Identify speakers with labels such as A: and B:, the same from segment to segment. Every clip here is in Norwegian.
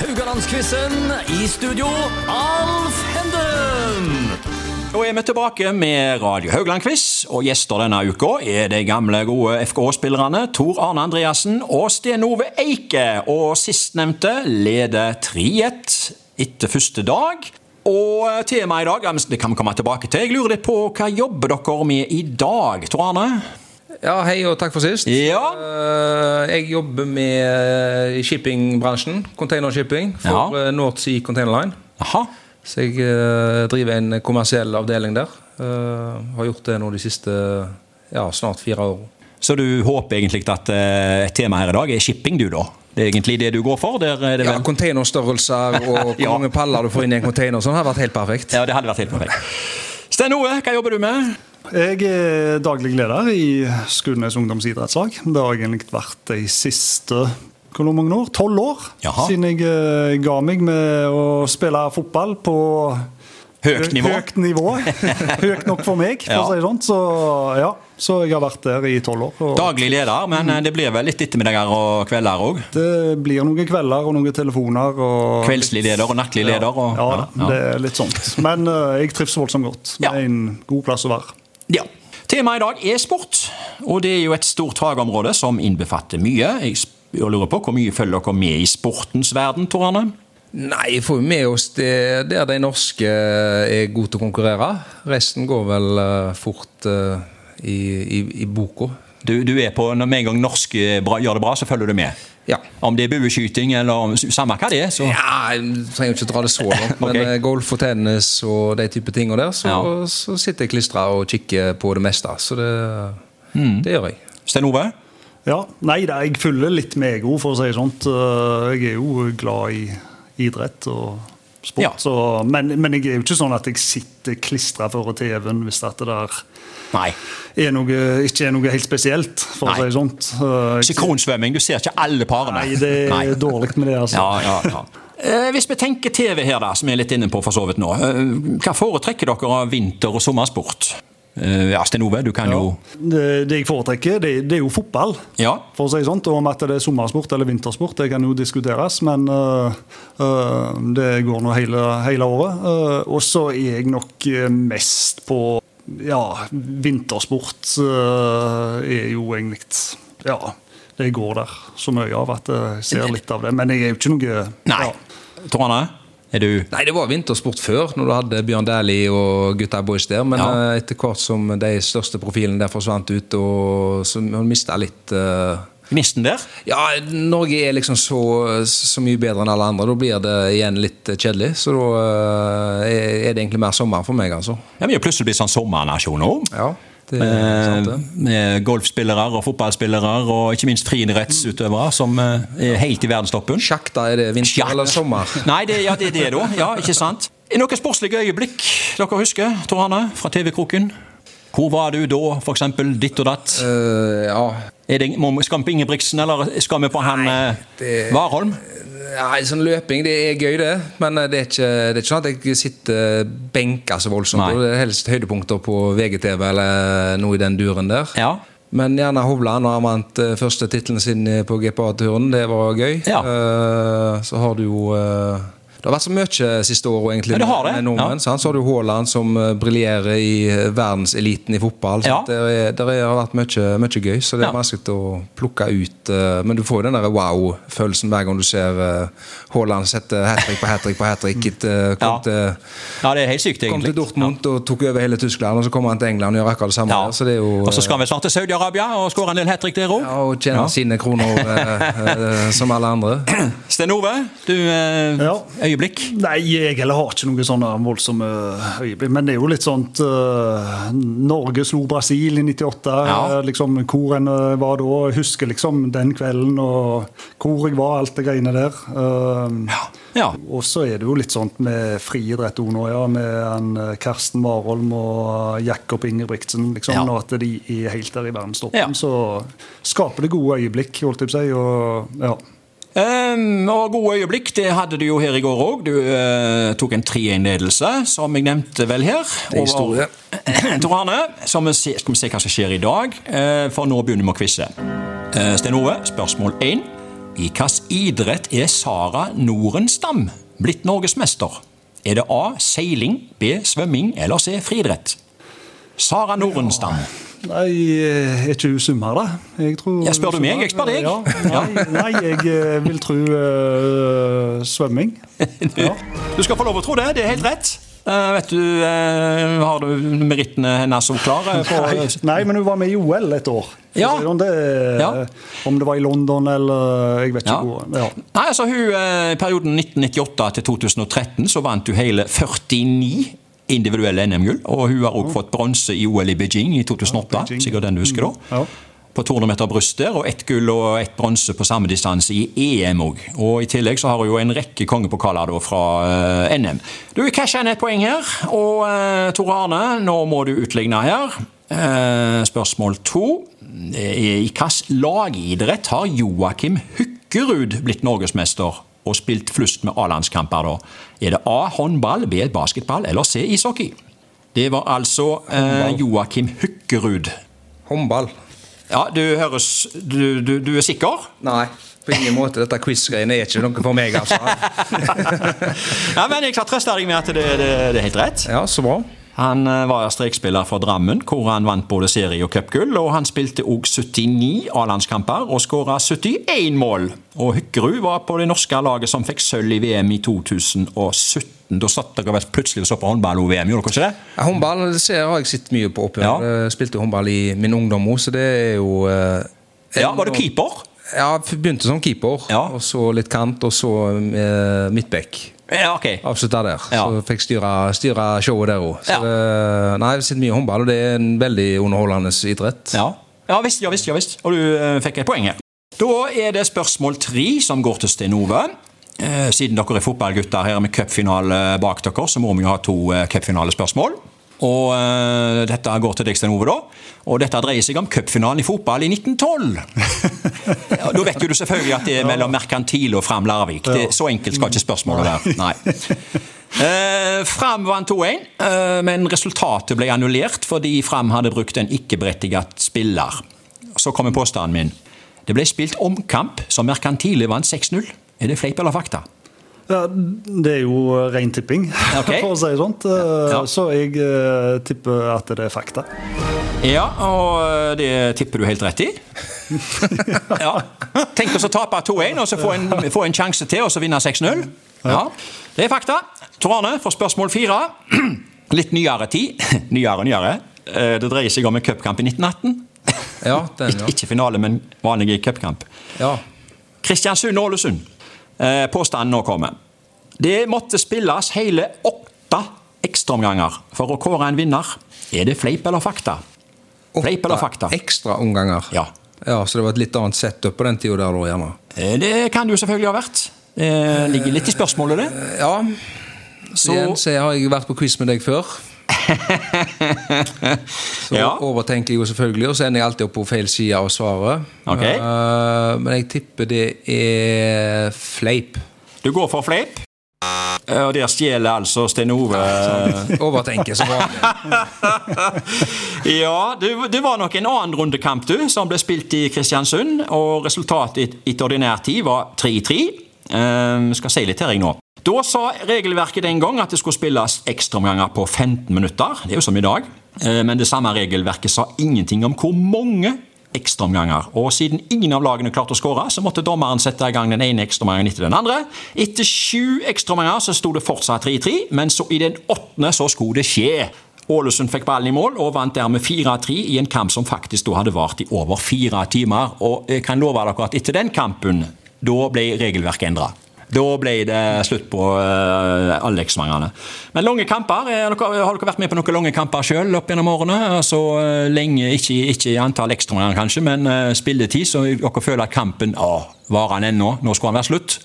A: Rogalandsquizen i studio, Alf Henden!
B: Da er vi tilbake med Radio Haugland-quiz, og gjester denne uka er de gamle, gode FKH-spillerne Tor Arne Andreassen og Sten Ove Eike. Og sistnevnte leder 3-1 etter første dag. Og temaet i dag ja, men det kan vi komme tilbake til. Jeg lurer litt på hva jobber dere med i dag, Tor Arne?
C: Ja, hei og takk for sist.
B: Ja,
C: Eh, Jeg jobber med eh, i shippingbransjen, containershipping, for
B: Ja.
C: eh, North Sea Container Line.
B: aha.
C: Så jeg eh, driver en kommersiell avdeling der. Eh, Har gjort det nå de siste ja, snart fire år.
B: Så du håper egentlig at eh, temaet her i dag er shipping, du, da? Det er egentlig det du går for? Der er det
C: Ja,
B: vel...
C: Containerstørrelser og hvor
B: Ja.
C: mange paller du får inn i en container, sånn har vært helt perfekt.
B: ja, det hadde vært helt perfekt. Sten Ove, hva jobber du med?
D: Jeg er daglig leder i Skudenes ungdomsidrettslag. Det har jeg egentlig vært de siste hvor mange år? Tolv år
B: Jaha.
D: siden jeg eh, ga meg med å spille fotball på
B: Høyt nivå?
D: Høyt, nivå. høyt nok for meg, for
B: Ja.
D: å si det sånn. Så, ja. så jeg har vært der i tolv år. Og
B: Daglig leder, men eh, det blir vel litt ettermiddager og kvelder òg.
D: det blir noen kvelder og noen telefoner. Og
B: Kveldslig leder og nattlig leder. Og,
D: ja, da, det er litt sånt. Men eh, jeg trives voldsomt godt. Det
B: Ja.
D: er en god plass å være.
B: Ja. Temaet i dag er sport, og det er jo et stort fagområde som innbefatter mye. Jeg sp- jeg lurer på Hvor mye følger dere med i sportens verden, Tor Arne?
C: Nei, jeg får jo med oss det der de norske eh, er gode til å konkurrere. Resten går vel eh, fort eh, i, i, i boka.
B: Du, du er på, Når med en gang norske bra, gjør det bra, så følger du med.
C: Ja.
B: Om det er bueskyting eller om- samme hva det er. Så.
C: Ja, jeg trenger ikke dra det så langt, men
B: Ok.
C: eh, golf og tennis og de type tingene der, så,
B: Ja.
C: så sitter jeg klistra og kikker på det meste. Så det,
B: Mm.
C: det gjør jeg.
B: Stein Ove?
D: Ja, nei da, jeg følger litt med ego, for å si det sånt. Eh, Jeg er jo glad i idrett og sport,
B: Ja.
D: så, men, men jeg er jo ikke sånn at jeg sitter klistra foran TV-en hvis at det der
B: Nei.
D: er noe, ikke er noe helt spesielt, for
B: Nei.
D: å si det sånt. Eh, jeg-
B: Synkronsvømming, du ser ikke alle parene.
D: Nei, det
B: Nei.
D: er dårlig med det, altså.
B: Ja, ja, ja. Eh, Hvis vi tenker TV her, da, som vi er litt inne på for så vidt nå. eh, Hva foretrekker dere av vinter- og sommersport? Eh, Ja, Sten Ove, du kan jo
D: Det, det jeg foretrekker, det, det er jo fotball.
B: Ja.
D: For å si det sånt, og Om at det er sommersport eller vintersport, det kan jo diskuteres, men øh, øh, det går nå hele, hele året. Øh, og så er jeg nok øh, mest på Ja, vintersport øh, er jo egentlig Ja, det går der så mye av at jeg ser litt av det. Men jeg er jo ikke noe
B: Nei.
D: Ja,
B: Tor Arne, er du
C: Nei, det var vintersport før, når du hadde Bjørn Dæhlie og gutta boys der, men
B: Ja.
C: eh, etter hvert som de største profilene der forsvant ut, og så mista litt eh,
B: gnisten der?
C: Ja, Norge er liksom så, så mye bedre enn alle andre. Da blir det igjen litt kjedelig. Så da eh, er det egentlig mer sommer for meg, altså.
B: Ja, Vi er jo plutselig blitt sånn sommernasjon nå.
C: Ja, det er sant, det.
B: Eh, Med golfspillere og fotballspillere og ikke minst friidrettsutøvere som eh, er helt i verdenstoppen.
C: Sjakk, da er det vinter
B: Sjakk.
C: eller sommer?
B: Nei, det, ja, det er det, da. Ja, ikke sant? Er noen sportslige øyeblikk dere husker, Tor Arne, fra TV-kroken? Hvor var du da, for eksempel? Ditt og datt?
C: Eh, ja.
B: Er det, må, vi- skal vi på Ingebrigtsen, eller skal vi på han
C: Nei,
B: eh,
C: det-
B: Warholm?
C: Nei, sånn løping det er gøy, det. Men eh, det er ikke, det er ikke sånn at jeg sitter benka så voldsomt.
B: Nei.
C: og Det er helst høydepunkter på VGTV eller noe i den duren der.
B: Ja.
C: Men gjerne Hovland har vant eh, første tittelen sin på GPA-turen. Det var gøy.
B: Ja.
C: Eh, Så har du jo eh, Det har vært så mye siste året, egentlig,
B: Ja, det har det.
C: med nordmenn.
B: Ja.
C: sant? Så har du Haaland som eh, briljerer i eh, verdenseliten i fotball. sant?
B: Ja.
C: Det, er, det har vært mye, mye gøy, så det er
B: Ja.
C: vanskelig å plukke ut. eh, Men du får jo den der wow-følelsen hver gang du ser eh, Haaland sette hat trick på hat trick på hat trick. etter- eh, Kom,
B: Mm. Ja.
C: til,
B: Ja, det er helt sykt,
C: kom til
B: egentlig.
C: Dortmund og tok over hele Tyskland, og så kommer han til England og gjør akkurat det samme.
B: Ja.
C: der, Så det er jo,
B: og så
C: eh,
B: skal vi snart til Saudi-Arabia og skåre en del hat trick der òg.
C: ja, og tjener sine kroner eh, eh, som alle andre.
B: Sten Ove, du eh,
D: Ja.
B: Øyeblikk?
D: Nei, jeg heller har ikke noe sånne voldsomme øyeblikk. Men det er jo litt sånt eh, Norge slo Brasil i 98.
B: Ja.
D: eh, Liksom, hvor en eh, var da. Jeg husker liksom den kvelden og hvor jeg var, alt det greiene der. Eh,
B: Ja.
D: Og så er det jo litt sånt med friidrett òg nå, ja. Med han, eh, Karsten Warholm og eh, Jakob Ingebrigtsen, liksom.
B: Ja.
D: Og at de er helt der i verdenstoppen.
B: Ja.
D: Så skaper det gode øyeblikk, holdt jeg på å si. Og, ja.
B: Ehm, og gode øyeblikk, det hadde du jo her i går òg. Du eh, tok en 3-1-ledelse, som jeg nevnte vel her.
C: Det er historie.
B: Over- Tor Arne, så må vi se, skal vi se hva som skjer i dag, eh, for nå begynner vi å quize. Eh, Sten Ove, spørsmål 1. I hvilken idrett er Sara Norenstam blitt norgesmester? Er det A. Seiling, B. Svømming eller C. Friidrett? Sara Norenstam.
D: Nei, eh, er ikke hun summer, da? Jeg tror
B: Jeg spør du meg, jeg spør deg.
D: Ja, nei, nei, jeg eh, vil tro eh, svømming. Ja.
B: Du skal få lov å tro det, det er helt rett. Eh, vet du, eh, Har du merittene hennes eh, så klare?
D: Nei,
B: For,
D: nei, men hun var med i OL et år. For å
B: Ja.
D: si det, Om det,
B: Ja.
D: om det var i London eller eh, Jeg vet ikke
B: Ja.
D: hvor. Ja.
B: Nei, altså hun, eh, I perioden 1998 til 2013 så vant hun hele 49 individuelle NM-gull. Og hun har også fått bronse i OL i Beijing i 2008,
D: Beijing.
B: sikkert den du husker da.
D: Ja.
B: På 200 meter bryst der, og ett gull og ett bronse på samme distanse i EM òg. Og i tillegg så har hun jo en rekke kongepokaler da fra eh, NM. Du casher inn et poeng her, og eh, Tore Arne, nå må du utligne her. Eh, spørsmål to. Eh, I hvilken lagidrett har Joakim Hukkerud blitt norgesmester og spilt flust med A-landskamper, da? Er det A håndball, B basketball eller C ishockey? Det var altså eh, Joakim Hukkerud.
C: Håndball.
B: Ja, du høres Du, du, du er sikker?
C: Nei, på ingen måte. Dette quiz-greiene er ikke noe for meg, altså.
B: Ja, men jeg kan trøste deg med at det, det, det er helt rett.
C: Ja, så bra.
B: Han eh, var strekspiller for Drammen, hvor han vant både serie- og cupgull. Og han spilte også 79 A-landskamper og skåra 71 mål. Og Hykkerud var på det norske laget som fikk sølv i VM i 2017. Da satt dere vel plutselig og så på håndball-OVM, gjorde dere ikke det?
C: Ja, Håndball det ser, har jeg sett mye på opp igjen.
B: Ja.
C: Jeg Spilte håndball i min ungdom òg, så det er jo eh,
B: Ja, Var du keeper?
C: Ja, jeg begynte som keeper,
B: Ja.
C: og så litt kant, og så eh, midtback.
B: Ja, ok.
C: Avslutta der.
B: Ja.
C: Så fikk styre, styre showet der òg.
B: Ja.
C: Nei, jeg har sett mye håndball, og det er en veldig underholdende idrett.
B: Ja. ja visst, ja visst, ja visst. Og du eh, fikk et poeng her. Da er det spørsmål tre som går til Sten Ove. Eh, siden dere er fotballgutter her med cupfinale bak dere, så må vi jo ha to eh, cupfinalespørsmål. Og eh, dette går til deg, Sten Ove, da. Og dette dreier seg om cupfinalen i fotball i 1912. Ja, da vet jo du selvfølgelig at det er mellom Merkantil og Fram Larvik. Det, så enkelt skal ikke spørsmålet være. Nei. Eh, Fram vant 2-1, eh, men resultatet ble annullert fordi Fram hadde brukt en ikke-berettiget spiller. Så kommer påstanden min. Det ble spilt omkamp som Merkantile vant 6-0. Er det fleip eller fakta?
D: Ja, det er jo ren tipping,
B: Ok.
D: for å si det sånt. Eh,
B: Ja.
D: Så jeg eh, tipper at det er fakta.
B: Ja, og eh, det tipper du helt rett i. Ja. Tenk oss å tape 2-1, og så få en, få en sjanse til, og så vinne 6-0. Ja. Det er fakta. Tor Arne får spørsmål fire. Litt nyere tid. Nyere, nyere. Eh, Det dreier seg om en cupkamp i 1918.
C: Ja, den,
B: Ik
C: ja.
B: ikke finale, men vanlig cupkamp.
C: ja.
B: Kristiansund og Ålesund. Eh, Påstanden nå kommer. Det måtte spilles hele åtte ekstraomganger for å kåre en vinner. Er det fleip eller fakta? Fleip eller fakta?
C: Ekstra omganger.
B: Ja.
C: ja. Så det var et litt annet setup på den tida der, da, gjerne.
B: Eh, Det kan det jo selvfølgelig ha vært. Det ligger litt i spørsmålet, det.
C: Ja. Så...
B: Så
C: Igjen så har jeg vært på quiz med deg før. Så
B: Ja.
C: overtenker jeg jo selvfølgelig, og så ender jeg alltid opp på feil side av svaret.
B: Ok.
C: Eh, men jeg tipper det er fleip.
B: du går for fleip. Eh, Og der stjeler altså Sten Ove
C: Overtenker som vanlig.
B: Ja, det, det var nok en annen rundekamp du, som ble spilt i Kristiansund. Og resultatet et- etter ordinær tid var 3-3. Ehm, skal si litt her, jeg nå. Da sa regelverket den gang at det skulle spilles ekstraomganger på 15 minutter. Det er jo som i dag. Eh, Men det samme regelverket sa ingenting om hvor mange ekstraomganger. Og siden ingen av lagene klarte å skåre, så måtte dommeren sette i gang den ene ekstraomgangen etter den andre. Etter sju ekstraomganger så sto det fortsatt 3-3, men så i den åttende så skulle det skje. Ålesund fikk ballen i mål og vant dermed 4-3 i en kamp som faktisk da hadde vart i over fire timer. Og jeg kan love dere at etter den kampen, da ble regelverket endra. Da ble det slutt på uh, alle ekstraomgangene. Men lange kamper, eh, dere, har dere vært med på noen lange kamper sjøl opp gjennom årene? Altså eh, lenge, ikke, ikke i antall ekstraomganger kanskje, men eh, spilletid, så dere føler at kampen å, Varer han ennå? Nå skulle han være slutt?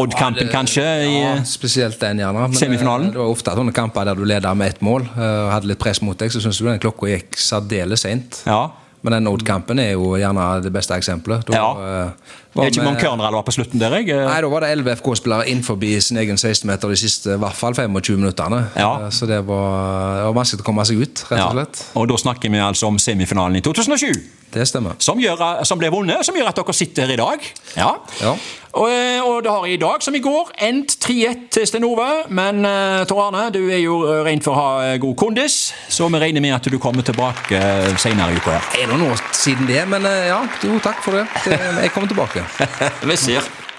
B: Odd-kampen kanskje? I,
C: Ja, spesielt den, gjerne. Men
B: Semifinalen?
C: eh, Det var ofte sånne kamper der du leda med ett mål eh, og hadde litt press mot deg, så syns du den klokka gikk særdeles seint.
B: ja.
C: Men den Odd-kampen er jo gjerne det beste eksempelet. Da,
B: Ja.
C: eh,
B: Det
C: var
B: er ikke
C: vi-
B: mange cornerer det var på slutten der, jeg. eh.
C: Nei, da var det 11 FK-spillere innenfor sin egen 16-meter de siste i hvert fall 25 minuttene.
B: Ja.
C: Eh, Så det var, det var vanskelig å komme seg ut, rett og slett.
B: Ja. Og da snakker vi altså om semifinalen i 2007.
C: Det stemmer.
B: som, gjør, som ble vunnet, som gjør at dere sitter her i dag. Ja.
C: Ja.
B: Og, eh, og det har i dag, som i går, endt 3-1 til Stenove. Men eh, Tor Arne, du er jo eh, rent for å ha eh, god kondis, så vi regner med at du kommer tilbake eh, senere i uka. her.
C: Er det noen år siden det, men eh, ja, jo, takk for det. Det- Jeg kommer tilbake.
B: Vi ser.